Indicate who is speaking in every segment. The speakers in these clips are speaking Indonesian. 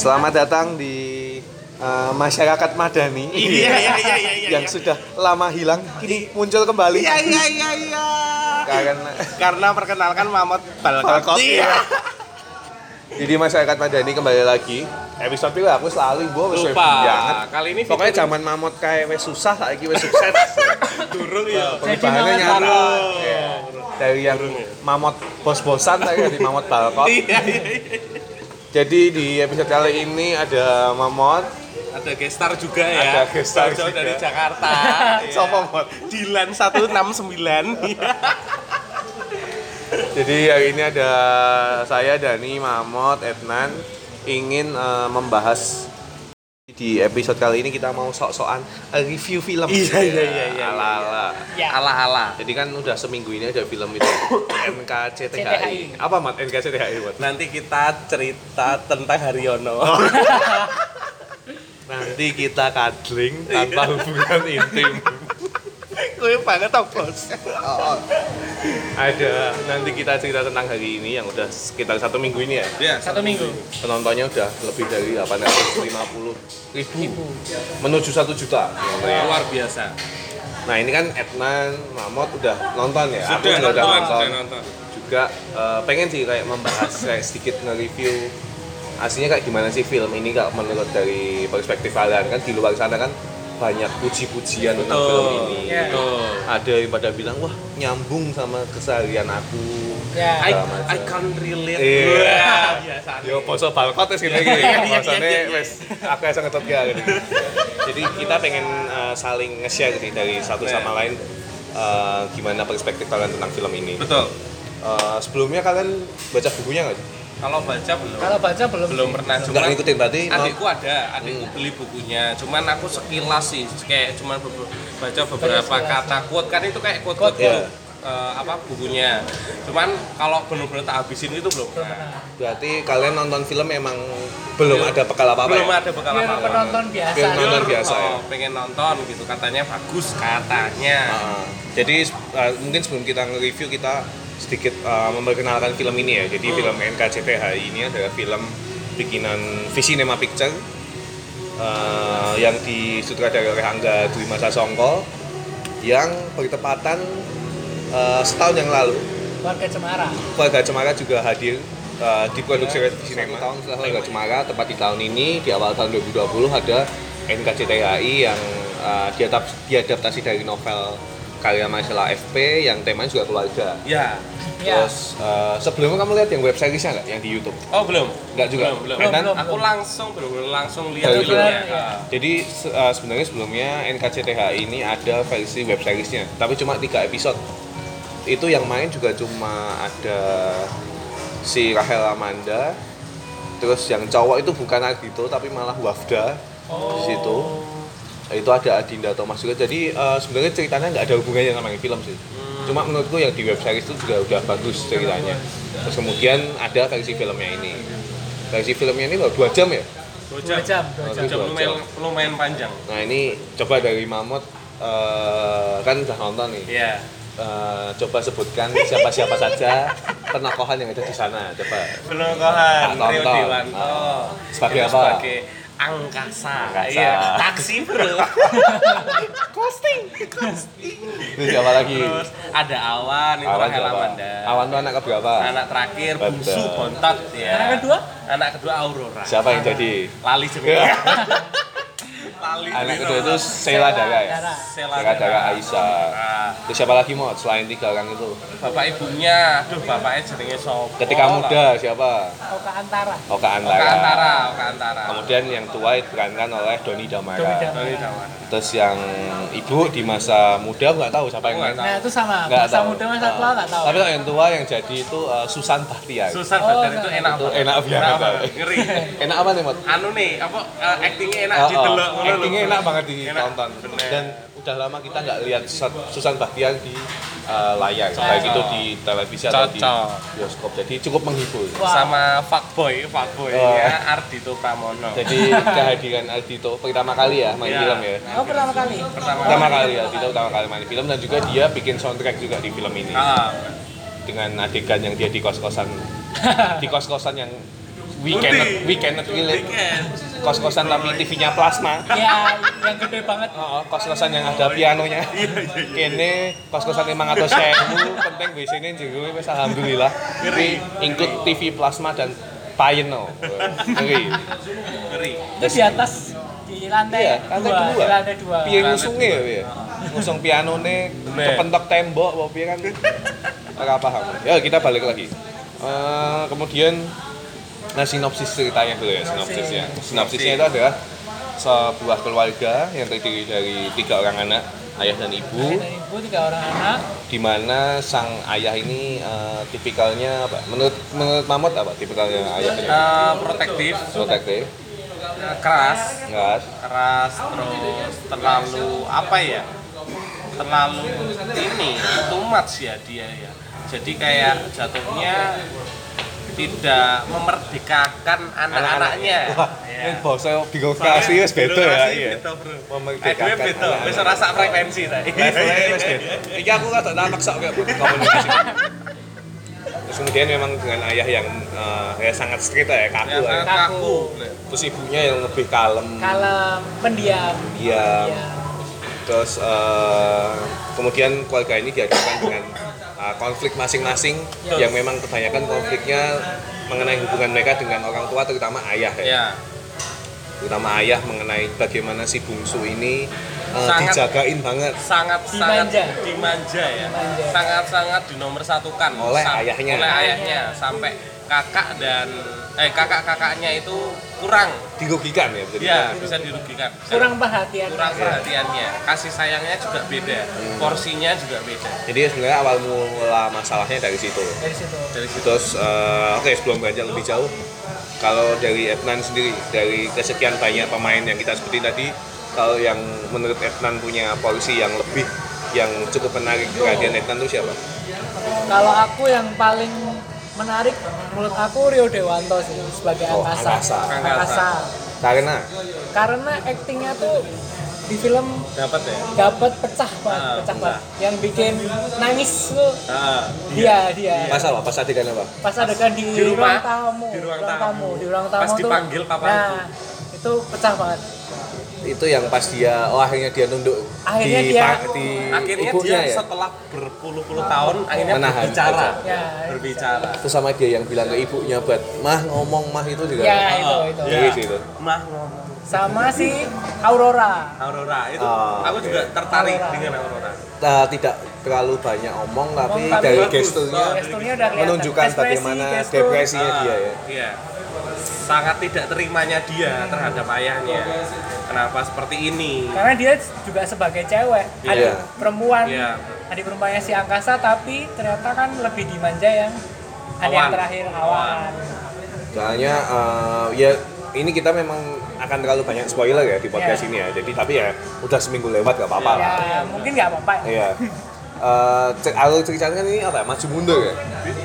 Speaker 1: Selamat datang di eh, masyarakat Madani
Speaker 2: Iya, iya, iya, iya, iya,
Speaker 1: yang
Speaker 2: iya.
Speaker 1: sudah lama hilang kini muncul kembali
Speaker 2: Iya iya iya iya.
Speaker 1: karena
Speaker 2: Karena perkenalkan Mamot Balkot.
Speaker 1: Balkot,
Speaker 2: Iya.
Speaker 1: iya. jadi masyarakat Madani kembali lagi episode itu aku selalu gue wes
Speaker 2: Lupa.
Speaker 1: banget
Speaker 2: Kali ini
Speaker 1: pokoknya zaman mamot kayak wes susah lagi wes sukses
Speaker 2: durung ya.
Speaker 1: pembahasannya
Speaker 3: Jadi mamot
Speaker 1: nyata
Speaker 3: balkot.
Speaker 1: Iya. dari yang mamot bos-bosan saya jadi mamot balkot
Speaker 2: Iya iya. iya.
Speaker 1: jadi di episode kali ini ada mamot
Speaker 2: Ada gestar juga
Speaker 1: Ada
Speaker 2: ya.
Speaker 1: guest star
Speaker 2: Jauh-jauh
Speaker 1: juga.
Speaker 2: dari Jakarta. Iya.
Speaker 1: Sopo, Mot?
Speaker 2: Dilan 169. Iya.
Speaker 1: Jadi hari ini ada saya Dani, Mamot, Ednan ingin eh, membahas di episode kali ini kita mau sok-sokan review film.
Speaker 2: Iya, iya, iya, iya,
Speaker 1: Ala-ala.
Speaker 3: Ya.
Speaker 2: Ala-ala.
Speaker 1: Jadi kan udah seminggu ini ada film itu NKCTHI.
Speaker 3: CTHI.
Speaker 1: Apa Mat NKCTHI buat?
Speaker 2: Nanti kita cerita tentang
Speaker 1: Oh.
Speaker 2: Haryono.
Speaker 1: Nanti kita cuddling tanpa hubungan intim.
Speaker 2: Kue banget toh, Bos.
Speaker 1: Ada nanti kita cerita tentang hari ini yang udah sekitar satu minggu ini ya.
Speaker 2: Iya.
Speaker 3: satu minggu
Speaker 1: Penontonnya udah lebih dari 850 ribu menuju 1 juta. penontonnya.
Speaker 2: Iya. Luar biasa.
Speaker 1: Nah ini kan Ednan, Mamot udah nonton ya? Aku
Speaker 2: Sudah
Speaker 1: juga udah
Speaker 2: nonton,
Speaker 1: nonton.
Speaker 2: sudah nonton.
Speaker 1: Juga eh, pengen sih kayak membahas kayak sedikit nge-review aslinya kayak gimana sih film ini kalau menurut dari perspektif kalian kan di luar sana kan banyak puji-pujian tentang film ini.
Speaker 2: Betul.
Speaker 3: Iya.
Speaker 2: Betul.
Speaker 1: Ada yang pada bilang wah nyambung sama keseharian aku.
Speaker 3: Ya.
Speaker 2: I,
Speaker 1: Segala macam.
Speaker 2: I can't relate.
Speaker 1: Iya.
Speaker 2: Wah, biasa.
Speaker 1: Yo poso balkot wis ngene iki.
Speaker 2: Iya, iya, iya,
Speaker 1: Posone
Speaker 2: iya, iya.
Speaker 1: wis akeh sing ngetot ya. gitu. Jadi kita pengen eh, saling nge-share gitu dari satu
Speaker 2: Iya.
Speaker 1: sama lain eh, gimana perspektif kalian tentang film ini.
Speaker 2: Betul.
Speaker 1: Eh, sebelumnya kalian baca bukunya nggak?
Speaker 2: Kalau baca belum.
Speaker 3: kalau baca belum
Speaker 2: belum pernah
Speaker 1: Nggak
Speaker 2: cuman
Speaker 1: ngikutin berarti mau-
Speaker 2: adikku ada adikku beli bukunya cuman aku sekilas sih kayak cuman be- baca beberapa
Speaker 3: sekilas.
Speaker 2: kata quote kan itu kayak quote quote
Speaker 1: Quote,
Speaker 2: gitu, eh, apa bukunya cuman kalau benar-benar tak habisin itu belum pernah.
Speaker 1: berarti kalian nonton film emang belum ada bekal apa apa
Speaker 2: belum
Speaker 1: ya?
Speaker 2: ada bekal
Speaker 3: Biar
Speaker 2: apa
Speaker 3: penonton Iya, biasa
Speaker 1: Biar nonton biasa ya?
Speaker 2: pengen nonton gitu katanya bagus katanya
Speaker 1: Ah, jadi eh, mungkin sebelum kita nge-review kita sedikit eh, memperkenalkan film ini ya. Jadi film NKCTHI ini adalah film bikinan Visinema Picture eh, yang disutradarai oleh Angga Dwi Masa Songko yang bertepatan eh, setahun yang lalu
Speaker 3: warga Cemara
Speaker 1: keluarga Cemara juga hadir uh, di produksi Red Cinema. tahun setelah keluarga Cemara, tepat di tahun ini di awal tahun 2020 ada NKCTHI yang uh, diadap- diadaptasi dari novel karya masalah FP yang temanya juga keluarga.
Speaker 2: ya
Speaker 3: ya
Speaker 1: Terus uh, sebelumnya kamu lihat yang web seriesnya nggak yang di YouTube?
Speaker 2: oh belum
Speaker 1: Nggak juga?
Speaker 2: belum belum,
Speaker 1: Belum,
Speaker 2: Dan
Speaker 3: belum,
Speaker 2: aku
Speaker 3: belum.
Speaker 2: langsung belum langsung lihat
Speaker 1: Baru
Speaker 2: filmnya
Speaker 3: lihat, ya.
Speaker 2: Ah.
Speaker 1: Jadi se- uh, sebenarnya sebelumnya NKCTHI ini ada versi web seriesnya, tapi cuma tiga episode. Itu yang main juga cuma ada si Rahel Amanda. Terus yang cowok itu bukan Agito tapi malah Wafda di situ. Itu ada Adinda Thomas juga. Jadi uh, sebenarnya ceritanya nggak ada hubungannya sama yang film sih. Cuma menurutku yang di web series itu juga Hmm. udah bagus ceritanya. Terus kemudian ada versi filmnya ini. Versi filmnya ini baru dua jam ya.
Speaker 2: dua
Speaker 3: dua
Speaker 2: jam
Speaker 3: jam
Speaker 1: Baru
Speaker 3: dua jam
Speaker 2: Dua jam
Speaker 1: dua
Speaker 2: lumayan, lumayan panjang
Speaker 1: Nah ini coba dari Mamut eh, kan udah nonton nih.
Speaker 2: Iya.
Speaker 1: Eh, coba sebutkan siapa-siapa saja penokohan yang ada di sana. Coba.
Speaker 2: Pelengkohan,
Speaker 1: Tak
Speaker 2: Rio
Speaker 1: tonton.
Speaker 2: Dewanto
Speaker 1: Ah. Sebagai
Speaker 2: Itu
Speaker 1: apa?
Speaker 2: Sebagai angkasa,
Speaker 1: Angkasa.
Speaker 2: Iya, taksi bro Costing, costing
Speaker 1: Terus siapa lagi?
Speaker 2: Terus ada Awan, itu
Speaker 1: Awan
Speaker 2: Rahel
Speaker 1: siapa?
Speaker 2: Amanda
Speaker 1: Awan tuh anak keberapa?
Speaker 2: Anak terakhir,
Speaker 1: Betul.
Speaker 2: Bungsu, Bontot ya.
Speaker 3: Anak kedua?
Speaker 2: Anak kedua Aurora
Speaker 1: Siapa yang jadi?
Speaker 2: Lali
Speaker 1: Iya.
Speaker 2: jenengnya Lali
Speaker 1: Anak
Speaker 2: jenengnya.
Speaker 1: kedua itu Sheila Dara ya?
Speaker 3: Dara.
Speaker 2: Sheila
Speaker 1: Sheila Dara
Speaker 2: Dara.
Speaker 1: Aisyah.
Speaker 2: Ah,
Speaker 1: Terus siapa lagi mau selain tiga orang itu?
Speaker 2: Bapak ibunya, aduh bapaknya jenengnya Sopo
Speaker 1: Ketika
Speaker 2: lah.
Speaker 1: muda siapa?
Speaker 3: Oka Antara
Speaker 1: Oka
Speaker 2: Oka
Speaker 1: Antara.
Speaker 2: Antara, Oka Antara
Speaker 1: Kemudian yang tua diperankan oleh Doni
Speaker 3: Doni
Speaker 1: Damara.
Speaker 3: Damara.
Speaker 2: Doni Dawara.
Speaker 1: Terus yang ibu di masa muda nggak tahu siapa yang
Speaker 2: Nggak
Speaker 1: main.
Speaker 2: tahu.
Speaker 3: nah itu sama
Speaker 1: Nggak
Speaker 3: masa
Speaker 1: tahu.
Speaker 3: muda masa
Speaker 1: Ah.
Speaker 3: tua nggak tahu
Speaker 1: Tapi kalau yang tua yang jadi itu uh, Susan Bahtiar.
Speaker 2: Susan
Speaker 3: Oh,
Speaker 2: Badar itu
Speaker 3: nah.
Speaker 2: enak
Speaker 1: Itu
Speaker 2: banget.
Speaker 1: enak banget.
Speaker 2: Ngeri.
Speaker 1: enak apa nih, Mot?
Speaker 2: Anu nih, apa eh, actingnya enak
Speaker 1: Oh, oh.
Speaker 2: didelok ngono lho.
Speaker 1: Actingnya enak banget
Speaker 2: Enak,
Speaker 1: ditonton.
Speaker 2: bener.
Speaker 1: Dan udah lama kita nggak lihat Susan- Susan Bahtiar di uh, layar, baik itu di televisi atau di
Speaker 2: Cocok.
Speaker 1: bioskop. Jadi cukup menghibur.
Speaker 3: Wah.
Speaker 2: sama fuckboy, fuckboy
Speaker 1: Oh.
Speaker 2: ya Ardito Pramono.
Speaker 1: Jadi kehadiran Aldito pertama kali ya main
Speaker 2: Iya.
Speaker 1: film ya.
Speaker 3: oh pertama kali
Speaker 1: Pertama kali Aldito pertama kali main film dan juga dia bikin soundtrack juga di film ini.
Speaker 2: Ah,
Speaker 1: dengan adegan yang dia di kos-kosan di kos-kosan yang We
Speaker 2: Budi.
Speaker 1: cannot, we cannot relate.
Speaker 2: Weekend.
Speaker 1: Kos-kosan tapi TV-nya plasma.
Speaker 3: ya yang gede banget
Speaker 1: Oh, iya. kos-kosan yang ada pianonya. Kene kos-kosan 500 sewu, penting WC-ne jero wis alhamdulillah. Kuwi include TV plasma dan piano. Ngeri.
Speaker 2: Ngeri.
Speaker 3: itu di atas di lantai
Speaker 1: Iya,
Speaker 3: dua,
Speaker 1: lantai dua.
Speaker 3: di lantai dua
Speaker 1: Piye
Speaker 2: Lantai
Speaker 1: ngusunge ya, piye? Ngusung pianone
Speaker 2: Bener.
Speaker 1: kepentok tembok apa piye kan. Ora paham. Ya kita balik lagi. Eh, kemudian nah sinopsis ceritanya dulu ya sinopsisnya. Sinopsisnya itu adalah sebuah keluarga yang terdiri dari tiga orang anak, ayah dan ibu.
Speaker 3: dan ibu tiga orang anak
Speaker 1: dimana sang ayah ini eh, tipikalnya apa? Menurut menurut Mamut apa tipikalnya ayahnya?
Speaker 2: Eh, protektif,
Speaker 1: Protektif,
Speaker 2: keras,
Speaker 1: keras,
Speaker 2: keras terus terlalu apa ya terlalu ini too much ya dia ya jadi kayak jatuhnya tidak memerdekakan anak-anaknya
Speaker 1: Wah,
Speaker 2: Ya.
Speaker 1: ini bahasa birokrasi wis beda ya.
Speaker 2: Birokrasi
Speaker 1: Iya.
Speaker 2: beda, bro.
Speaker 1: Memerdekakan
Speaker 2: Eh, duit beda,
Speaker 1: anak-anak.
Speaker 2: wis rasa frekuensi ta.
Speaker 1: Levelnya
Speaker 2: gitu.
Speaker 1: wis beda. Iki aku rada tak maksa kayak buat komunikasi. Terus kemudian memang dengan ayah yang eh, ya sangat strict ya, kaku
Speaker 2: Ya,
Speaker 1: ya.
Speaker 2: kaku.
Speaker 1: Terus ibunya yang lebih kalem.
Speaker 3: kalem pendiam
Speaker 1: Diam.
Speaker 3: Iya.
Speaker 1: Terus eh, kemudian keluarga ini dihadapkan dengan eh, konflik masing-masing
Speaker 3: Ya.
Speaker 1: yang
Speaker 2: Iya.
Speaker 1: memang kebanyakan konfliknya mengenai hubungan mereka dengan orang tua terutama ayah ya.
Speaker 2: Ya,
Speaker 1: Terutama ayah mengenai bagaimana si bungsu ini eh,
Speaker 2: Sangat-
Speaker 1: dijagain banget
Speaker 2: sangat
Speaker 3: Dimanja.
Speaker 2: sangat dimanja ya
Speaker 3: Dimanja.
Speaker 2: sangat sangat dinomor satukan
Speaker 1: Oleh ayahnya.
Speaker 2: oleh ayahnya sampai kakak dan eh kakak kakaknya itu kurang
Speaker 1: dirugikan ya bisa
Speaker 2: ya
Speaker 1: dibilang.
Speaker 2: bisa dirugikan
Speaker 3: kurang perhatian Iya,
Speaker 2: kurang perhatiannya kasih sayangnya juga beda
Speaker 1: Hmm.
Speaker 2: porsinya juga beda
Speaker 1: Jadi sebenarnya awal mula masalahnya dari situ.
Speaker 3: dari situ
Speaker 2: dari situ
Speaker 1: Terus eh, oke sebelum beranjak lebih jauh kalau dari Ednan sendiri dari kesekian banyak pemain yang kita sebutin tadi kalau yang menurut Ednan punya polisi yang lebih yang cukup menarik perhatian Ednan itu siapa?
Speaker 3: kalau aku yang paling menarik menurut aku Rio Dewanto sih sebagai
Speaker 1: Oh,
Speaker 3: angkasa
Speaker 1: angkasa.
Speaker 2: Angkasa.
Speaker 1: Karena
Speaker 3: karena aktingnya tuh di film
Speaker 2: dapat ya
Speaker 3: dapat pecah banget
Speaker 2: Ah,
Speaker 3: pecah
Speaker 2: pecah.
Speaker 3: banget yang bikin nangis tuh
Speaker 2: Ah,
Speaker 3: dia dia
Speaker 1: pas apa? Pas adegan apa?
Speaker 3: pas adegan di,
Speaker 2: Di rumah.
Speaker 3: ruang tamu
Speaker 2: Di ruang tamu.
Speaker 3: di ruang tamu
Speaker 2: Pas
Speaker 3: tuh
Speaker 2: dipanggil Papa
Speaker 3: nah itu pecah banget
Speaker 1: Itu yang pas dia oh akhirnya dia nunduk
Speaker 3: Akhirnya
Speaker 1: di,
Speaker 3: dia-
Speaker 1: pa- di
Speaker 2: akhirnya
Speaker 1: ibunya
Speaker 2: dia
Speaker 1: ya.
Speaker 2: setelah berpuluh-puluh tahun akhirnya
Speaker 1: Menahan.
Speaker 2: berbicara
Speaker 3: Ya.
Speaker 2: berbicara
Speaker 1: Itu sama dia yang bilang ke ibunya buat mah ngomong mah itu juga.
Speaker 3: ya itu itu
Speaker 1: Iya.
Speaker 2: Ya.
Speaker 1: Di situ.
Speaker 2: mah ngomong
Speaker 3: sama si Aurora
Speaker 2: Aurora itu
Speaker 1: Ah,
Speaker 2: aku
Speaker 1: oke.
Speaker 2: juga tertarik
Speaker 3: Aurora.
Speaker 2: dengan Aurora
Speaker 1: Nah, tidak terlalu banyak omong tapi
Speaker 3: tapi
Speaker 1: dari
Speaker 2: bagus.
Speaker 1: gesturnya
Speaker 2: Oh,
Speaker 3: gesturnya udah kelihatan
Speaker 1: menunjukkan
Speaker 3: Ekspresi,
Speaker 1: bagaimana
Speaker 3: gestur.
Speaker 1: depresinya
Speaker 2: Ah,
Speaker 1: dia ya.
Speaker 2: iya. sangat tidak terimanya dia terhadap ayahnya kenapa seperti ini
Speaker 3: karena dia juga sebagai cewek
Speaker 2: Iya.
Speaker 3: adik perempuan
Speaker 2: Iya.
Speaker 3: adik perempuannya si angkasa tapi ternyata kan lebih dimanja yang adik yang
Speaker 2: Awan.
Speaker 3: terakhir awan
Speaker 1: Soalnya eh, ya ini kita memang akan terlalu banyak spoiler ya di podcast
Speaker 3: Iya.
Speaker 1: ini ya. Jadi tapi ya udah seminggu lewat gak apa-apa lah.
Speaker 3: ya mungkin nggak apa-apa
Speaker 1: Iya. Eh, cek alur ceritanya kan ini apa ya? Maju mundur ya.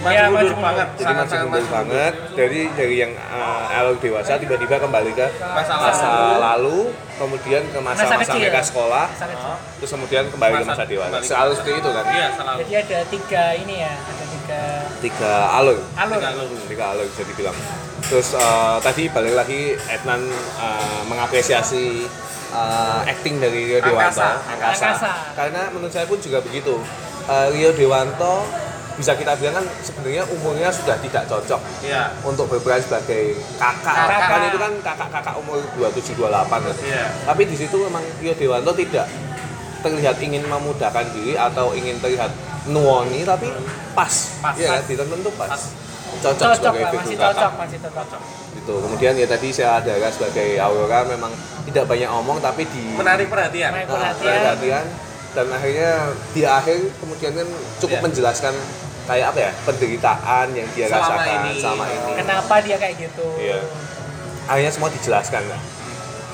Speaker 2: maju
Speaker 3: Iya,
Speaker 2: mundur
Speaker 3: maju mundur.
Speaker 2: banget
Speaker 1: Jadi
Speaker 2: sangat
Speaker 1: maju
Speaker 2: sangat
Speaker 1: mundur banget. Jadi dari yang eh, alur dewasa tiba-tiba kembali ke
Speaker 2: masa
Speaker 1: masa
Speaker 2: lalu
Speaker 1: lalu, kemudian ke masa-masa
Speaker 3: kecil.
Speaker 1: mereka sekolah,
Speaker 3: Sangat
Speaker 2: Oh,
Speaker 1: terus kemudian kembali ke
Speaker 2: Masa-
Speaker 1: masa dewasa.
Speaker 2: kembali ke
Speaker 1: Sealur
Speaker 2: masa-
Speaker 1: seperti itu kan.
Speaker 2: iya selalu
Speaker 3: Jadi ada tiga ini ya, ada tiga
Speaker 1: Tiga alur.
Speaker 3: alur.
Speaker 2: Tiga alur.
Speaker 1: Tiga alur bisa dibilang. Terus eh, tadi balik lagi Ednan eh, mengapresiasi eh, acting dari Rio Dewanto,
Speaker 2: Angkasa.
Speaker 3: Angkasa.
Speaker 1: Karena menurut saya pun juga begitu. Eh, Rio Dewanto bisa kita bilang kan sebenarnya umurnya sudah tidak cocok
Speaker 2: iya
Speaker 1: untuk berperan sebagai kakak.
Speaker 2: Kakak.
Speaker 1: Kan itu kan kakak-kakak umur 27 28 kan.
Speaker 2: iya
Speaker 1: Tapi di situ memang Rio Dewanto tidak terlihat ingin memudahkan diri atau ingin terlihat nuoni tapi pas.
Speaker 2: Pas,
Speaker 1: ya,
Speaker 2: pas.
Speaker 1: ditonton tuh pas.
Speaker 2: Pas.
Speaker 1: Cocok, ya,
Speaker 3: Cocok
Speaker 1: sebagai
Speaker 3: lah,
Speaker 1: figur
Speaker 3: masih
Speaker 1: kakak.
Speaker 3: cocok, masih cocok.
Speaker 1: Gitu. Kemudian ya tadi saya ada kan sebagai Aurora memang tidak banyak omong tapi di
Speaker 2: menarik perhatian
Speaker 3: Menarik.
Speaker 1: Nah,
Speaker 3: perhatian.
Speaker 1: perhatian. dan akhirnya di akhir kemudian kan cukup
Speaker 2: Iya.
Speaker 1: menjelaskan kayak apa ya penderitaan yang dia
Speaker 2: Selama
Speaker 1: rasakan
Speaker 2: ini.
Speaker 1: selama ini.
Speaker 3: Kenapa dia kayak gitu?
Speaker 1: Iya. akhirnya semua dijelaskan lah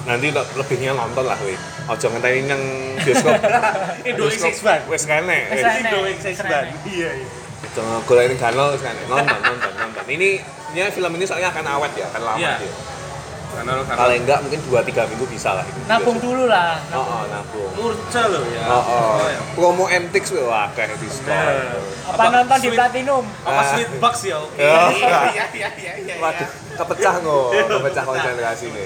Speaker 1: nanti le- lebihnya nonton lah weh ojo ngenteni nang bioskop
Speaker 2: Indonesia Expan
Speaker 1: wes kene
Speaker 3: Wes
Speaker 1: wes.
Speaker 3: kene.
Speaker 2: Indonesia Expan iya iya
Speaker 1: ojo golek kanal wes kene nonton nonton nonton ini ini film ini soalnya akan awet ya akan lama
Speaker 2: Iya.
Speaker 1: dia
Speaker 2: Analog analog.
Speaker 1: paling enggak mungkin 2-3 minggu bisa lah itu.
Speaker 3: nabung dulu lah
Speaker 1: oh, oh nabung
Speaker 2: Murca loh ya.
Speaker 1: oh, oh.
Speaker 2: ya.
Speaker 1: promo MTX wah akeh diskon
Speaker 2: Nah.
Speaker 3: apa, nonton di Oh,
Speaker 2: sweet-
Speaker 3: platinum
Speaker 2: Apa
Speaker 1: Ah.
Speaker 2: sweet box ya? Oke.
Speaker 1: Ya.
Speaker 2: Iya iya iya iya.
Speaker 1: waduh kepecah ngoh kepecah konsentrasi nih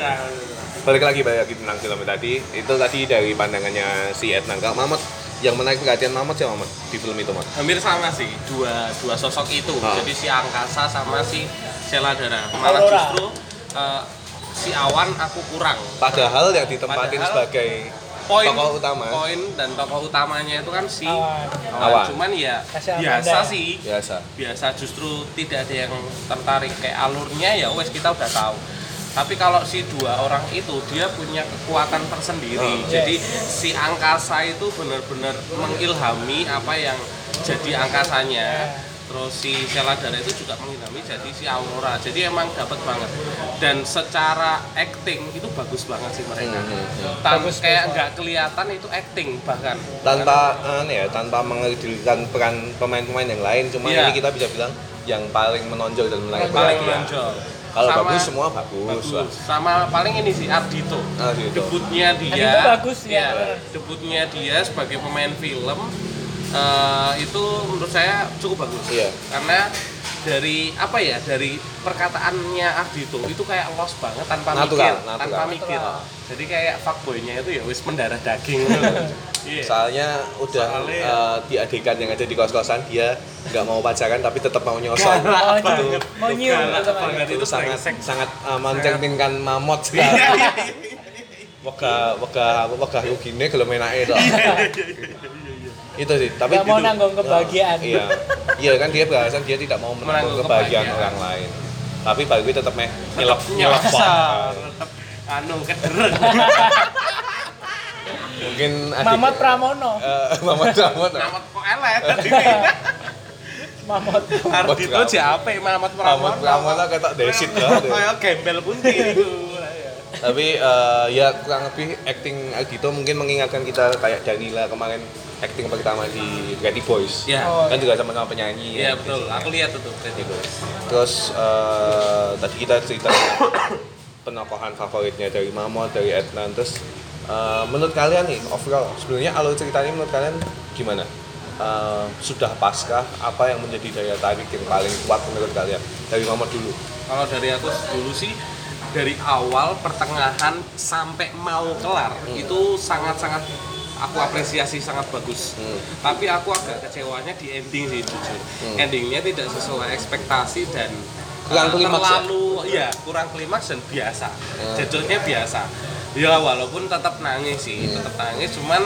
Speaker 1: balik lagi balik lagi tentang film tadi itu tadi dari pandangannya si Ed Nangka Mamet yang menarik perhatian Mamet ya Mamet di film itu Mamet
Speaker 2: hampir sama sih dua dua sosok itu
Speaker 1: Ah.
Speaker 2: jadi si angkasa sama si Seladara malah
Speaker 3: Aurora.
Speaker 2: justru eh, si awan aku kurang
Speaker 1: padahal yang ditempatin
Speaker 2: Padahal
Speaker 1: sebagai
Speaker 2: poin
Speaker 1: tokoh utama
Speaker 2: poin dan tokoh utamanya itu kan si
Speaker 3: Awan.
Speaker 1: Awan.
Speaker 2: cuman ya
Speaker 3: Kasih Amanda.
Speaker 2: biasa sih
Speaker 1: biasa
Speaker 2: biasa justru tidak ada yang tertarik kayak alurnya ya wes kita udah tahu tapi kalau si dua orang itu dia punya kekuatan tersendiri
Speaker 1: Oh.
Speaker 2: jadi si angkasa itu benar-benar mengilhami apa yang jadi angkasanya terus si Seladara itu juga mengilhami jadi si Aurora jadi emang dapat banget dan secara acting itu bagus banget sih mereka
Speaker 1: Hmm, hmm, hmm.
Speaker 2: Tan-
Speaker 3: Bagus,
Speaker 2: kayak
Speaker 3: bagus.
Speaker 2: nggak kelihatan itu acting bahkan
Speaker 1: tanpa aneh ya tanpa mengedilkan peran pemain-pemain yang lain cuma
Speaker 2: Iya.
Speaker 1: ini kita bisa bilang yang paling menonjol dan menarik
Speaker 3: Yang
Speaker 2: paling
Speaker 1: perhatian
Speaker 2: menonjol
Speaker 1: Iya, kalau
Speaker 2: Sama-
Speaker 1: bagus semua bagus, lah
Speaker 2: bagus sama paling ini sih Ardito
Speaker 1: Ah, gitu.
Speaker 2: debutnya dia Iya,
Speaker 3: Ardito bagus, ya.
Speaker 2: debutnya dia sebagai pemain film eh, itu menurut saya cukup bagus
Speaker 1: Iya.
Speaker 2: karena dari apa ya dari perkataannya Ardito itu kayak los banget tanpa mikir
Speaker 1: Natural, natural.
Speaker 2: tanpa mikir
Speaker 3: Natural.
Speaker 2: jadi kayak fuckboynya itu ya wis mendarah daging Iya.
Speaker 1: soalnya udah
Speaker 2: Soalnya-
Speaker 1: eh, di adegan yang ada di kos-kosan dia nggak mau pacaran tapi tetap mau nyosong
Speaker 2: Galak
Speaker 3: Oh,
Speaker 2: banget.
Speaker 3: mau nyium, gitu kan.
Speaker 2: Galak
Speaker 3: teman.
Speaker 2: banget.
Speaker 1: itu sangat
Speaker 2: brengsek.
Speaker 1: sangat uh, mencerminkan mamot sekali
Speaker 2: Iya, iya, iya.
Speaker 1: wegah wegah wegah rugine gelem enake to itu sih tapi
Speaker 3: Nggak mau
Speaker 1: judul-
Speaker 3: nanggung kebahagiaan.
Speaker 1: Oh, iya iya kan dia beralasan dia tidak mau menanggung
Speaker 2: Menanggung
Speaker 1: kebahagiaan
Speaker 2: kebahagiaan.
Speaker 1: orang lain tapi bagi gue tetap meh nyelok
Speaker 2: Tetep
Speaker 1: nyelok
Speaker 2: nyasar. Tetep anu kedereng
Speaker 1: mungkin adik-
Speaker 3: Mamot Pramono
Speaker 1: Eh, Mamat Pramono
Speaker 2: Mamat kok elek
Speaker 3: Mamot
Speaker 2: Ardito jape Mamat Pramono.
Speaker 1: Mamat Pramono ketok desit lah
Speaker 2: Kayak gembel gitu. kunti itu.
Speaker 1: tapi eh, ya kurang lebih acting Agito mungkin mengingatkan kita kayak Danila kemarin acting pertama di Ready Boys
Speaker 2: Iya.
Speaker 3: Oh,
Speaker 1: kan juga sama-sama penyanyi
Speaker 2: Iya
Speaker 1: ya,
Speaker 2: betul.
Speaker 1: biasanya.
Speaker 2: Aku lihat itu tadi.
Speaker 1: Gitu. terus eh, tadi kita cerita tentang penokohan favoritnya dari Mamot dari Ednan terus eh, menurut kalian nih overall sebenarnya alur ceritanya menurut kalian gimana Eh, sudah paskah apa yang menjadi daya tarik yang paling kuat menurut kalian dari Mamot dulu
Speaker 2: Kalau dari aku dulu sih dari awal pertengahan sampai mau kelar
Speaker 1: Hmm.
Speaker 2: itu sangat-sangat aku apresiasi sangat bagus.
Speaker 1: Hmm.
Speaker 2: Tapi aku agak kecewanya di ending sih jujur. Endingnya tidak sesuai ekspektasi dan
Speaker 1: Kurang
Speaker 2: eh,
Speaker 1: klimaks ya? Hmm.
Speaker 2: terlalu iya kurang klimaks dan biasa. Judulnya biasa. Ya walaupun tetap nangis sih,
Speaker 1: Hmm.
Speaker 2: tetap nangis cuman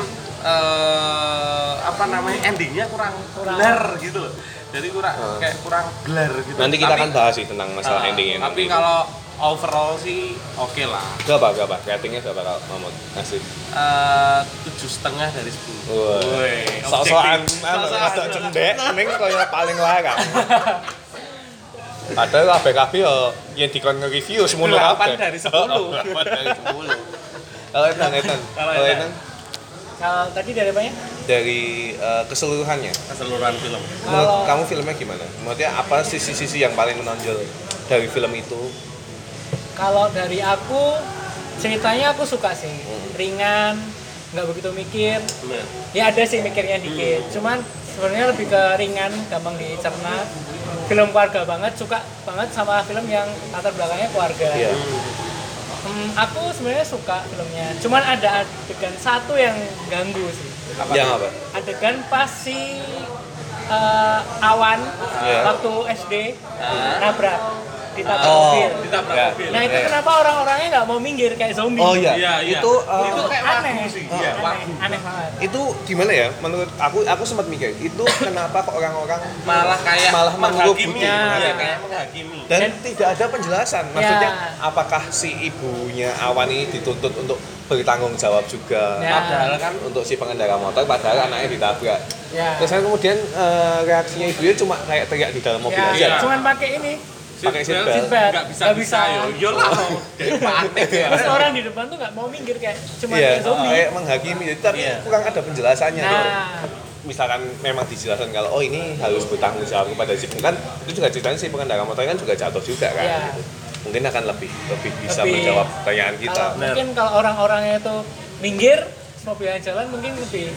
Speaker 2: eh, apa namanya endingnya kurang
Speaker 3: Kurang.
Speaker 2: blar gitu loh. Jadi kurang kayak kurang blar gitu.
Speaker 1: Hmm. nanti kita
Speaker 2: Tapi-
Speaker 1: akan bahas sih tentang masalah
Speaker 2: Ah,
Speaker 1: endingnya
Speaker 2: Tapi kalau overall sih oke lah.
Speaker 1: berapa berapa ratingnya berapa kalau Mamot ngasih
Speaker 2: Eh, tujuh setengah dari sepuluh.
Speaker 1: Wah.
Speaker 2: Woi,
Speaker 1: sok-sokan
Speaker 2: objektif.
Speaker 1: anu
Speaker 2: Sok-sokan,
Speaker 1: rada
Speaker 2: sok-sokan.
Speaker 1: cendek ning kaya paling larang padahal kabeh kabeh yo yen dikon nge-review semono
Speaker 2: Delapan
Speaker 1: kabeh
Speaker 2: dari sepuluh.
Speaker 1: Delapan dari sepuluh. kalau Ethan Ethan
Speaker 2: Kalau
Speaker 1: kalau
Speaker 2: Ethan.
Speaker 1: Ethan
Speaker 3: kalau tadi dari banyak
Speaker 1: dari eh, keseluruhannya
Speaker 2: Keseluruhan film.
Speaker 1: menurut
Speaker 3: Kalau-
Speaker 1: kamu filmnya gimana maksudnya apa sisi-sisi yang paling menonjol dari film itu
Speaker 3: kalau dari aku ceritanya aku suka sih ringan nggak begitu mikir
Speaker 2: Bener.
Speaker 3: ya ada sih mikirnya
Speaker 1: Hmm.
Speaker 3: dikit cuman sebenarnya lebih ke ringan gampang dicerna film keluarga banget suka banget sama film yang latar belakangnya keluarga
Speaker 1: Iya.
Speaker 3: Hmm, aku sebenarnya suka filmnya cuman ada adegan satu yang ganggu sih
Speaker 1: yang apa
Speaker 3: adegan pas si eh, awan
Speaker 1: Iya.
Speaker 3: waktu SD nabrak ditabrak
Speaker 1: Oh.
Speaker 3: mobil
Speaker 2: Ditabrak
Speaker 1: Ya.
Speaker 2: mobil.
Speaker 3: nah itu
Speaker 1: Iya.
Speaker 3: kenapa orang-orangnya nggak mau minggir kayak zombie
Speaker 1: oh iya
Speaker 2: Iya, iya.
Speaker 1: itu eh,
Speaker 2: Itu kayak
Speaker 3: aneh
Speaker 2: wagu sih. Iya,
Speaker 3: aneh,
Speaker 2: wagu.
Speaker 3: aneh banget
Speaker 1: itu gimana ya menurut aku aku sempat mikir itu kenapa kok orang-orang
Speaker 2: Malah kayak
Speaker 1: Malah
Speaker 2: menghakimi.
Speaker 1: mengurubuti.
Speaker 2: Iya,
Speaker 3: Nah.
Speaker 2: kayak menghakimi.
Speaker 1: dan
Speaker 3: Dan-
Speaker 1: tidak ada penjelasan maksudnya
Speaker 3: Ya.
Speaker 1: apakah si ibunya Awan ini dituntut untuk bertanggung jawab juga
Speaker 3: Ya.
Speaker 2: Padahal kan
Speaker 1: untuk si pengendara motor padahal anaknya ditabrak
Speaker 3: ya
Speaker 1: terus kan kemudian eh, reaksinya ibunya cuma kayak teriak di dalam mobil
Speaker 3: ya,
Speaker 1: aja
Speaker 2: Iya.
Speaker 3: cuman pakai ini
Speaker 1: Pakai seatbelt.
Speaker 3: Seatbelt.
Speaker 2: Enggak bisa
Speaker 3: Nggak
Speaker 2: bisa Ya
Speaker 3: bisa.
Speaker 2: yo. Yo lah. Kayak panik ya.
Speaker 3: terus orang di depan tuh nggak mau minggir kayak cuma
Speaker 1: Iya, iya.
Speaker 3: kayak zombie Ya.
Speaker 1: kayak menghakimi jadi tapi
Speaker 2: Iya.
Speaker 1: kurang ada penjelasannya tuh.
Speaker 3: nah
Speaker 1: misalkan memang dijelaskan kalau oh ini harus bertanggung jawab kepada si kan itu juga ceritanya si pengendara motor kan juga jatuh juga kan
Speaker 3: ya
Speaker 1: gitu. mungkin akan lebih lebih bisa
Speaker 3: Lebih-
Speaker 1: menjawab pertanyaan kita.
Speaker 3: Kalau
Speaker 2: Benar.
Speaker 3: mungkin kalau orang-orangnya itu minggir, semua pilihan jalan mungkin lebih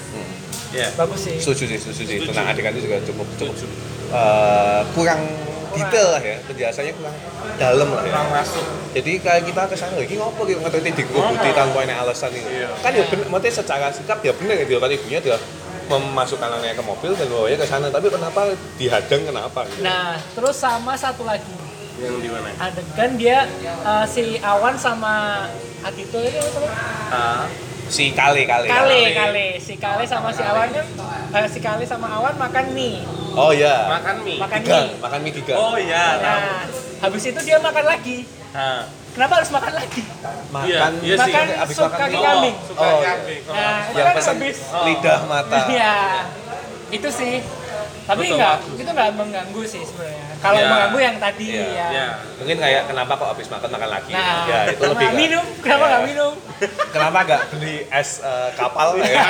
Speaker 2: ya
Speaker 3: bagus sih.
Speaker 1: Setuju sih, setuju sih.
Speaker 2: Setuju.
Speaker 1: Tentang adegan itu juga cukup cukup
Speaker 2: Setuju.
Speaker 1: eh, kurang detail lah ya, penjelasannya kurang dalam lah ya.
Speaker 2: kurang masuk
Speaker 1: Jadi kayak kita kesana lagi ngopo gitu ngerti di grup di tanpa ini alasan itu.
Speaker 2: Iya.
Speaker 1: Kan ya bener, maksudnya secara sikap ya bener gitu kan ibunya dia memasukkan anaknya ke mobil dan bawanya ke sana tapi kenapa dihadang kenapa gitu.
Speaker 3: Nah, terus sama satu lagi
Speaker 2: yang di mana
Speaker 3: adegan dia eh, si Awan sama Agito itu apa tuh?
Speaker 2: Ah,
Speaker 1: si kale kale
Speaker 3: Kale, Kale, si Kale sama si Awan kan eh, si Kale sama Awan makan mie,
Speaker 1: oh ya
Speaker 2: makan mie
Speaker 3: makan
Speaker 1: tiga
Speaker 3: mie.
Speaker 1: makan mie tiga
Speaker 2: oh iya tahu.
Speaker 3: Nah, habis itu dia makan lagi.
Speaker 2: Ah,
Speaker 3: Kenapa harus makan lagi?
Speaker 1: makan
Speaker 2: Iya, iya sih.
Speaker 3: makan
Speaker 1: abis
Speaker 3: sup
Speaker 1: makan
Speaker 3: kaki
Speaker 1: mie.
Speaker 3: kambing.
Speaker 2: oh, suka
Speaker 1: Oh, iya.
Speaker 2: kambing. Oh,
Speaker 3: Nah, itu
Speaker 1: yang
Speaker 3: kan
Speaker 1: pesan
Speaker 3: habis.
Speaker 1: lidah mata
Speaker 3: Iya. Itu sih. Tapi
Speaker 2: Betul,
Speaker 3: enggak,
Speaker 2: bagus.
Speaker 3: itu enggak mengganggu sih sebenarnya. Kalau
Speaker 2: Iya.
Speaker 3: mengganggu yang tadi
Speaker 1: Iya.
Speaker 3: ya.
Speaker 2: ya
Speaker 1: mungkin kayak kenapa kok habis makan makan lagi
Speaker 3: Nah,
Speaker 1: ya itu lebih
Speaker 3: kenapa nggak
Speaker 1: kan.
Speaker 3: minum? Kenapa
Speaker 1: Iya.
Speaker 3: enggak minum?
Speaker 1: kenapa nggak beli es eh, kapal
Speaker 3: Iya.
Speaker 1: ya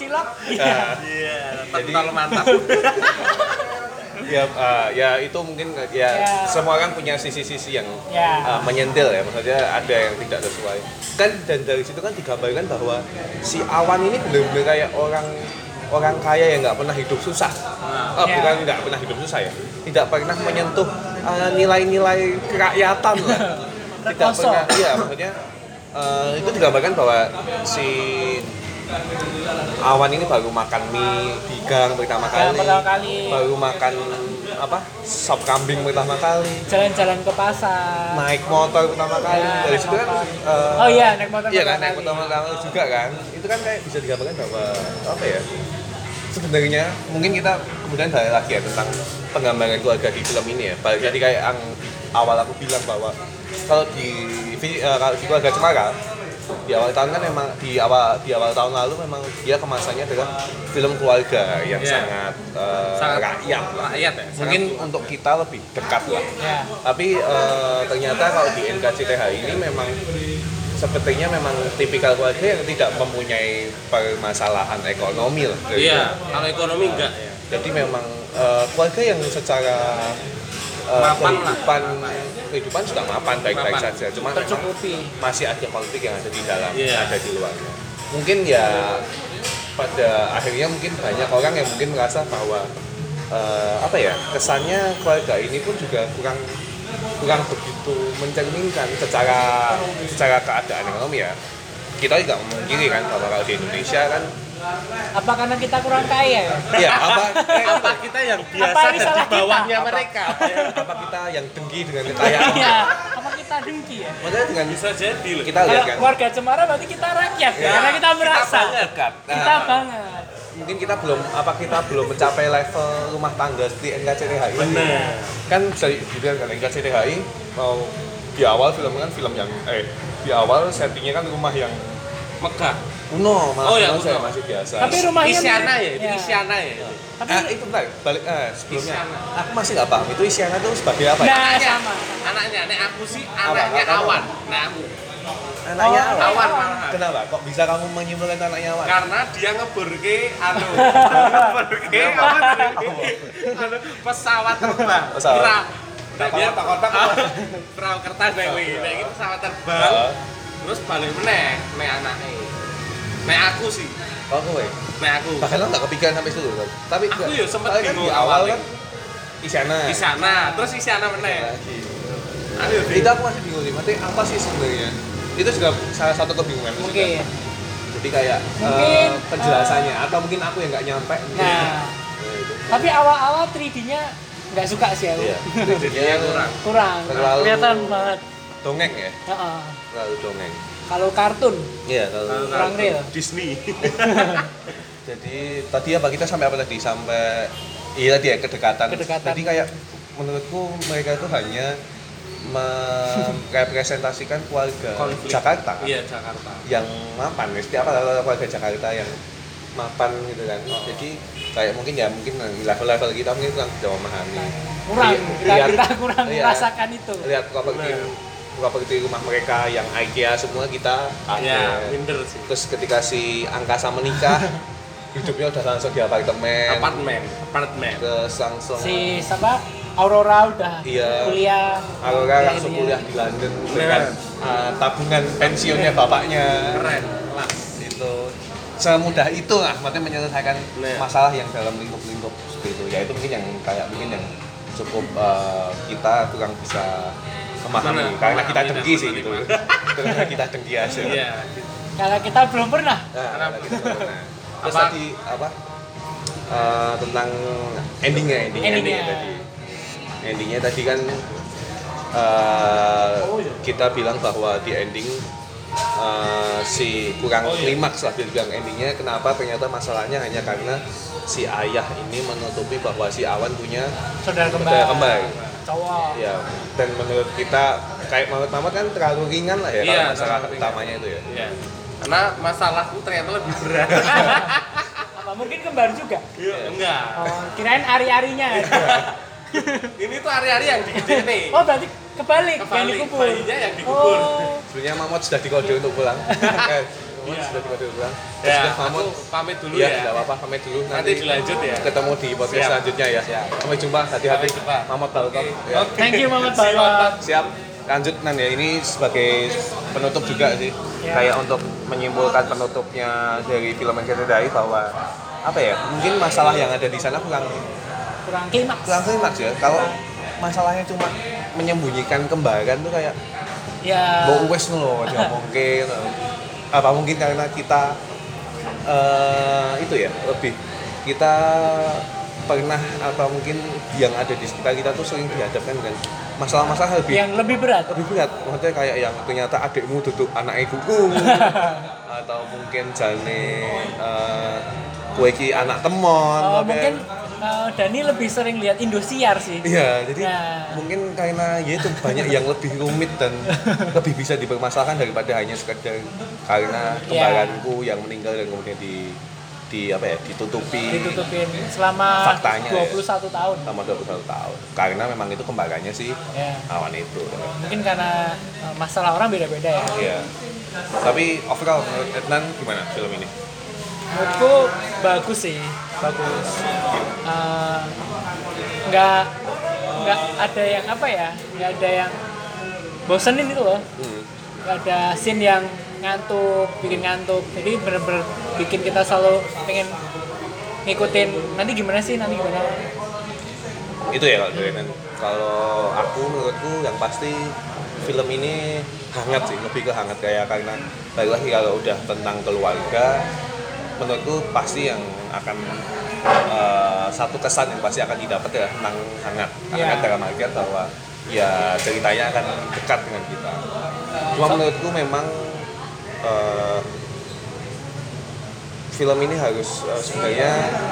Speaker 3: Cilok. Iya.
Speaker 1: Nah,
Speaker 2: iya
Speaker 1: Jadi-
Speaker 2: total mantap
Speaker 1: ya eh, ya itu mungkin ya
Speaker 3: Iya.
Speaker 1: semua kan punya sisi-sisi yang
Speaker 3: Iya.
Speaker 1: eh, menyentil ya maksudnya ada yang tidak sesuai kan dan dari situ kan digambarkan bahwa si awan ini benar-benar kayak orang orang kaya yang nggak pernah hidup susah Eh,
Speaker 3: Iya.
Speaker 1: bukan nggak pernah hidup susah ya tidak pernah menyentuh eh, nilai-nilai kerakyatan lah tidak
Speaker 3: Kosong.
Speaker 1: pernah iya maksudnya eh, itu digambarkan bahwa si awan ini baru makan mie di gang pertama
Speaker 3: Gang
Speaker 1: kali,
Speaker 3: pertama kali.
Speaker 1: baru makan apa sop kambing pertama kali
Speaker 3: Jalan-jalan ke pasar.
Speaker 1: naik motor pertama kali
Speaker 3: Ya,
Speaker 1: dari situ kan
Speaker 3: apa.
Speaker 1: eh,
Speaker 3: Oh iya, naik motor
Speaker 1: iya kan
Speaker 3: pertama
Speaker 1: naik
Speaker 3: kali.
Speaker 1: motor pertama kali juga kan itu kan kayak bisa digambarkan bahwa apa ya sebenarnya mungkin kita kemudian balik lagi ya tentang penggambaran keluarga di film ini ya balik jadi kayak yang di awal aku bilang bahwa kalau di fi- eh, kalau di keluarga cemara di awal tahun kan memang di awal di awal tahun lalu memang dia kemasannya adalah film keluarga yang
Speaker 2: Iya.
Speaker 1: sangat, eh,
Speaker 2: Sangat-
Speaker 1: rakyat lah.
Speaker 2: rakyat ya sangat
Speaker 1: mungkin untuk kita lebih dekat lah
Speaker 3: Ya.
Speaker 1: tapi eh, ternyata kalau di NKCTH ini memang sepertinya memang tipikal keluarga yang tidak mempunyai permasalahan ekonomi lah.
Speaker 2: Iya, kalau ekonomi enggak ya.
Speaker 1: Jadi memang eh, keluarga yang secara eh,
Speaker 2: Mapan lah.
Speaker 1: kehidupan kehidupan sudah mapan baik-baik
Speaker 2: Mapan.
Speaker 1: saja. Cuma memang
Speaker 3: Tercukupi.
Speaker 1: masih ada konflik yang ada di dalam,
Speaker 2: Iya.
Speaker 1: ada di luar. Mungkin ya pada akhirnya mungkin banyak orang yang mungkin merasa bahwa eh, apa ya kesannya keluarga ini pun juga kurang kurang begitu mencerminkan secara secara keadaan ekonomi ya. Kita juga memungkiri kan bahwa kalau di Indonesia kan
Speaker 3: Apa karena kita kurang kaya ya?
Speaker 1: ya apa
Speaker 2: Apa kita yang biasa
Speaker 3: Apa ini
Speaker 2: dan di
Speaker 3: salah kita?
Speaker 2: bawahnya
Speaker 1: Apa-
Speaker 2: mereka?
Speaker 1: apa kita yang dengki dengan kekayaan
Speaker 3: Iya. Apa kita dengki ya?
Speaker 1: maksudnya dengan
Speaker 2: Bisa jadi loh.
Speaker 1: kita
Speaker 3: Kalau
Speaker 1: lihat Iya, kan Iya.
Speaker 3: warga Cemara berarti kita rakyat ya, karena kita merasa
Speaker 2: banget.
Speaker 1: Nah,
Speaker 3: kita banget.
Speaker 1: mungkin kita belum apa kita belum mencapai level rumah tangga di NKCTHI
Speaker 2: Benar.
Speaker 1: kan bisa dibilang kan NKCTHI mau di awal film kan film yang eh di awal settingnya kan rumah yang
Speaker 2: Megah.
Speaker 1: kuno malah
Speaker 2: Oh, ya,
Speaker 1: kuno saya
Speaker 2: kuno.
Speaker 1: masih biasa
Speaker 3: Tapi rumahnya
Speaker 2: Isyana ya, itu
Speaker 3: Iya.
Speaker 2: Isyana ya. itu.
Speaker 3: Tapi
Speaker 1: Ah, itu bentar, balik eh, sebelumnya
Speaker 2: Isyana.
Speaker 1: aku masih nggak paham itu Isyana tuh sebagai apa ya?
Speaker 3: Nah.
Speaker 2: Anaknya,
Speaker 3: sama.
Speaker 2: anaknya, nek aku sih anaknya
Speaker 1: Apa? Apa?
Speaker 2: Awan. Nah, aku
Speaker 1: anaknya
Speaker 3: Oh,
Speaker 1: awal
Speaker 2: Awan malah.
Speaker 1: kenapa kok bisa kamu menyimpulkan anaknya awal
Speaker 2: Karena dia ngeburke anu, ngeburke apa tadi? Anu, pesawat terbang.
Speaker 1: Pesawat.
Speaker 2: Perahu. Nah,
Speaker 1: Kapal
Speaker 2: dia
Speaker 1: kotak-kotak
Speaker 2: Ah,
Speaker 1: apa?
Speaker 2: Perahu kertas nek kuwi. Nek iki pesawat terbang.
Speaker 1: Heeh.
Speaker 2: Terus balik meneh nek anake. Nek aku sih,
Speaker 1: kok kowe
Speaker 2: nek aku.
Speaker 1: Oh, bahkan lo nggak kepikiran sampai situ kan tapi
Speaker 2: Aku ya sempet
Speaker 1: soalnya kan
Speaker 2: bingung
Speaker 1: di awal
Speaker 2: awalnya.
Speaker 1: kan Isyana
Speaker 2: di sana terus di sana meneh
Speaker 1: lagi
Speaker 2: ayo
Speaker 1: itu gitu. aku masih bingung sih maksudnya apa sih sebenarnya itu juga salah satu kebingungan
Speaker 3: oke.
Speaker 1: juga. jadi kayak eh,
Speaker 3: Mungkin,
Speaker 1: penjelasannya atau mungkin aku yang nggak nyampe mungkin.
Speaker 3: Nah,
Speaker 1: Nah, itu.
Speaker 3: tapi awal-awal 3D-nya nggak suka sih aku.
Speaker 1: Iya.
Speaker 2: jadinya kurang
Speaker 3: Kurang.
Speaker 1: Terlalu-
Speaker 3: Kelihatan banget.
Speaker 1: dongeng ya
Speaker 3: Heeh.
Speaker 1: lalu dongeng
Speaker 3: Kalau kartun
Speaker 1: iya lalu
Speaker 3: kurang real.
Speaker 2: Disney
Speaker 1: jadi tadi apa kita sampai apa tadi sampai iya tadi ya kedekatan.
Speaker 3: Kedekatan.
Speaker 1: jadi kayak menurutku mereka itu hanya merepresentasikan keluarga
Speaker 2: Konflik.
Speaker 1: Jakarta
Speaker 2: iya Jakarta
Speaker 1: yang mapan ya setiap ada keluarga Jakarta yang mapan gitu kan
Speaker 3: Oh.
Speaker 1: jadi kayak mungkin ya mungkin level-level kita mungkin kurang bisa memahami
Speaker 3: Kurang.
Speaker 1: Iya,
Speaker 3: Kita,
Speaker 1: iya.
Speaker 3: kita kurang
Speaker 1: Iya.
Speaker 3: merasakan itu.
Speaker 1: lihat properti
Speaker 2: Bener.
Speaker 1: properti rumah mereka yang IKEA semua kita ada
Speaker 2: ya minder sih
Speaker 1: terus ketika si angkasa menikah hidupnya udah langsung di apartemen
Speaker 2: apartemen apartemen
Speaker 1: terus langsung
Speaker 3: Si siapa? Aurora udah
Speaker 1: Iya.
Speaker 3: kuliah.
Speaker 1: Aurora
Speaker 3: Kuliah
Speaker 1: langsung
Speaker 3: ini.
Speaker 1: kuliah di London
Speaker 2: Keren.
Speaker 1: dengan uh, tabungan pensiunnya bapaknya
Speaker 2: keren kelas
Speaker 1: itu semudah itu lah maksudnya menyelesaikan
Speaker 2: Nah.
Speaker 1: masalah yang dalam lingkup-lingkup seperti itu ya itu mungkin yang kayak mungkin yang cukup uh, kita kurang bisa memahami
Speaker 2: Mana?
Speaker 1: karena kita
Speaker 2: Memahami dan
Speaker 1: dengki sih gitu
Speaker 2: menerima.
Speaker 1: karena kita dengki aja
Speaker 2: iya
Speaker 3: Karena kita belum pernah.
Speaker 1: Nah,
Speaker 2: Karena-
Speaker 1: lagi di corona. Terus
Speaker 2: Apa?
Speaker 1: tadi apa? Eh, tentang endingnya, ending,
Speaker 3: Endingnya.
Speaker 1: endingnya tadi. Endingnya tadi kan eh,
Speaker 2: Oh, iya.
Speaker 1: kita bilang bahwa di ending eh, si kurang
Speaker 2: Oh, iya.
Speaker 1: klimaks lah bilang endingnya kenapa ternyata masalahnya hanya karena si ayah ini menutupi bahwa si Awan punya
Speaker 3: Saudara kembar.
Speaker 1: saudara kembar.
Speaker 3: Cowok.
Speaker 1: Ya, dan menurut kita kayak menurut Mama kan terlalu ringan lah ya
Speaker 2: Iya,
Speaker 1: kalau masalah
Speaker 2: terlalu ringan.
Speaker 1: utamanya itu ya.
Speaker 2: iya karena masalahku ternyata lebih berat
Speaker 3: Apa mungkin kembar juga?
Speaker 2: Iya, enggak
Speaker 3: Oh, kirain ari-arinya.
Speaker 1: Iya.
Speaker 2: ini tuh hari-hari yang gede nih
Speaker 3: oh, berarti kebalik, yang
Speaker 2: Kebalik,
Speaker 3: dikubur.
Speaker 2: bayinya yang dikubur.
Speaker 3: Oh.
Speaker 1: Sebenarnya Mamot sudah dikode untuk pulang. Kan? Mamot
Speaker 2: Iya.
Speaker 1: sudah dikode untuk pulang. Ya,
Speaker 2: ya
Speaker 1: sudah
Speaker 2: aku
Speaker 1: Mamot.
Speaker 2: pamit dulu
Speaker 1: Iya,
Speaker 2: ya
Speaker 1: tidak apa-apa. Pamit dulu nanti.
Speaker 2: nanti dilanjut ya
Speaker 1: ketemu di podcast
Speaker 2: Siap.
Speaker 1: selanjutnya ya. Sampai jumpa. Hati-hati.
Speaker 2: Sampai jumpa.
Speaker 1: Mamot Balkon.
Speaker 2: Oke.
Speaker 1: Ya.
Speaker 2: Oke.
Speaker 3: Thank you Mamat
Speaker 2: See you, Mamat.
Speaker 3: Balap.
Speaker 1: Siap. Lanjut Nan ya. Ini sebagai penutup juga sih.
Speaker 2: Ya.
Speaker 3: Iya.
Speaker 1: Kayak untuk menyimpulkan penutupnya dari film yang kita dari bahwa apa ya? Mungkin masalah yang ada di sana kurang
Speaker 3: Kurang klimaks.
Speaker 1: kurang klimaks ya. Kalau masalahnya cuma menyembunyikan kembaran tuh kayak
Speaker 3: Ya.
Speaker 1: Mbok wes ngono ya mungkin apa mungkin karena kita eh itu ya lebih kita pernah atau mungkin yang ada di sekitar kita tuh sering dihadapkan dengan masalah-masalah lebih
Speaker 3: Yang lebih berat.
Speaker 1: lebih berat maksudnya kayak yang ternyata adikmu duduk anak ibuku atau mungkin jane eh kue ki anak temon
Speaker 3: Oh,
Speaker 1: apa
Speaker 3: mungkin
Speaker 1: ya.
Speaker 3: eh, Dani lebih sering lihat Indosiar sih.
Speaker 1: Iya, jadi
Speaker 3: Ya.
Speaker 1: mungkin karena ya itu banyak yang lebih rumit dan lebih bisa dipermasalahkan daripada hanya sekedar karena kembaranku yang meninggal dan kemudian di di apa ya ditutupi
Speaker 3: Ditutupin selama
Speaker 1: Faktanya, ya.
Speaker 3: 21 tahun.
Speaker 1: sama 21 tahun karena memang itu kembarannya sih
Speaker 3: Ya.
Speaker 1: awan itu
Speaker 3: Mungkin karena eh, masalah orang beda-beda ya.
Speaker 1: Iya. tapi overall menurut Ednan gimana film ini
Speaker 3: menurutku bagus sih bagus Eh, nggak nggak ada yang apa ya nggak ada yang bosenin itu loh
Speaker 1: Hmm.
Speaker 3: nggak ada scene yang ngantuk bikin ngantuk jadi bener-bener bikin kita selalu pengen ngikutin nanti gimana sih nanti gimana
Speaker 1: itu ya kalau dari Ednan kalau aku menurutku yang pasti film ini hangat sih lebih ke hangat kayak karena balik lagi kalau udah tentang keluarga menurutku pasti yang akan eh, satu kesan yang pasti akan didapat ya tentang hangat hangat
Speaker 3: Iya.
Speaker 1: dalam artian bahwa ya ceritanya akan dekat dengan kita cuma menurutku memang eh, film ini harus eh, sebenarnya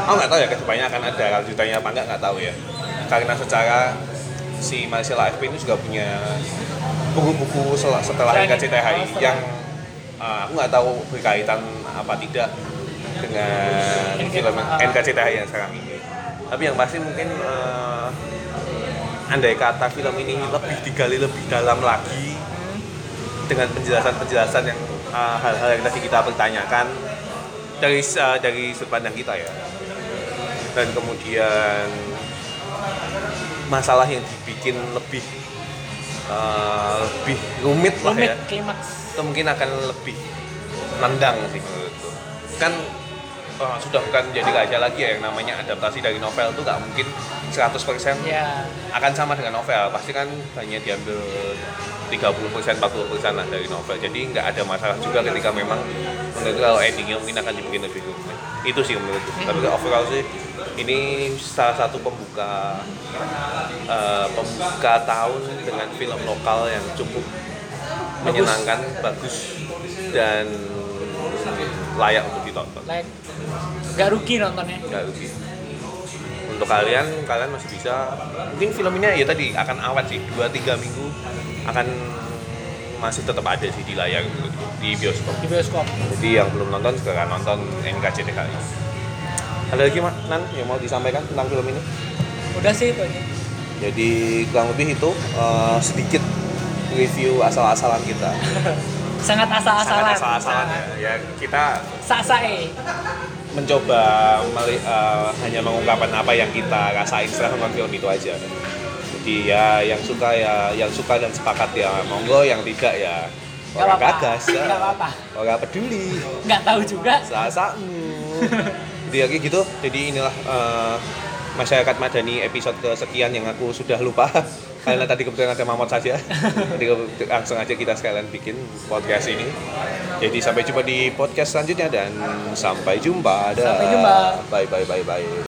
Speaker 1: aku nggak tahu ya kedepannya akan ada lanjutannya apa nggak nggak tahu ya karena secara si Marcella FP ini juga punya buku-buku sel- setelah
Speaker 3: Selain-
Speaker 1: NKCTHI
Speaker 3: oh, setelah.
Speaker 1: yang eh, aku nggak tahu berkaitan apa tidak dengan film NKCTHI yang sekarang ini tapi yang pasti mungkin eh, andai kata film ini lebih digali lebih dalam lagi dengan penjelasan-penjelasan yang uh, hal-hal yang tadi kita pertanyakan dari uh, dari sudut pandang kita ya dan kemudian masalah yang dibikin lebih uh, lebih rumit lah
Speaker 3: rumit
Speaker 1: ya
Speaker 3: klimaks
Speaker 1: itu mungkin akan lebih nendang sih menurutku kan uh, sudah bukan jadi rahasia lagi ya yang namanya adaptasi dari novel itu nggak mungkin 100%
Speaker 3: ya
Speaker 1: akan sama dengan novel pasti kan hanya diambil 30% 40% lah dari novel jadi nggak ada masalah juga ketika memang menurut kalau endingnya mungkin akan dibikin lebih rumit itu sih menurutku tapi overall sih ini salah satu pembuka eh, pembuka tahun dengan film lokal yang cukup menyenangkan bagus dan layak untuk ditonton
Speaker 3: like nggak rugi nontonnya
Speaker 1: nggak rugi untuk kalian kalian masih bisa mungkin film ini ya tadi akan awet sih dua tiga minggu akan masih tetap ada sih di layar di bioskop
Speaker 3: di bioskop
Speaker 1: jadi yang belum nonton segera nonton NKCT kali ini. ada lagi Mak, Nan yang mau disampaikan tentang film ini
Speaker 3: udah sih itu aja
Speaker 1: jadi kurang lebih itu eh, sedikit review asal-asalan kita
Speaker 3: sangat asal-asalan
Speaker 1: sangat asal-asalan ya. ya kita
Speaker 3: sasae
Speaker 1: mencoba meli- eh, hanya mengungkapkan apa yang kita rasain setelah nonton film itu aja Jadi ya yang suka ya yang suka dan sepakat ya monggo yang tidak ya orang
Speaker 3: apa-apa.
Speaker 1: gagas ya.
Speaker 3: Nggak apa-apa.
Speaker 1: Orang peduli.
Speaker 3: nggak tahu juga
Speaker 1: Sasamu. Jadi ya kayak gitu. Jadi inilah eh, masyarakat Madani episode kesekian yang aku sudah lupa. Karena tadi kebetulan ada Mamot saja. Jadi langsung aja kita sekalian bikin podcast ini. Jadi sampai jumpa di podcast selanjutnya dan sampai jumpa. Dah.
Speaker 3: Sampai jumpa.
Speaker 1: Bye bye bye bye.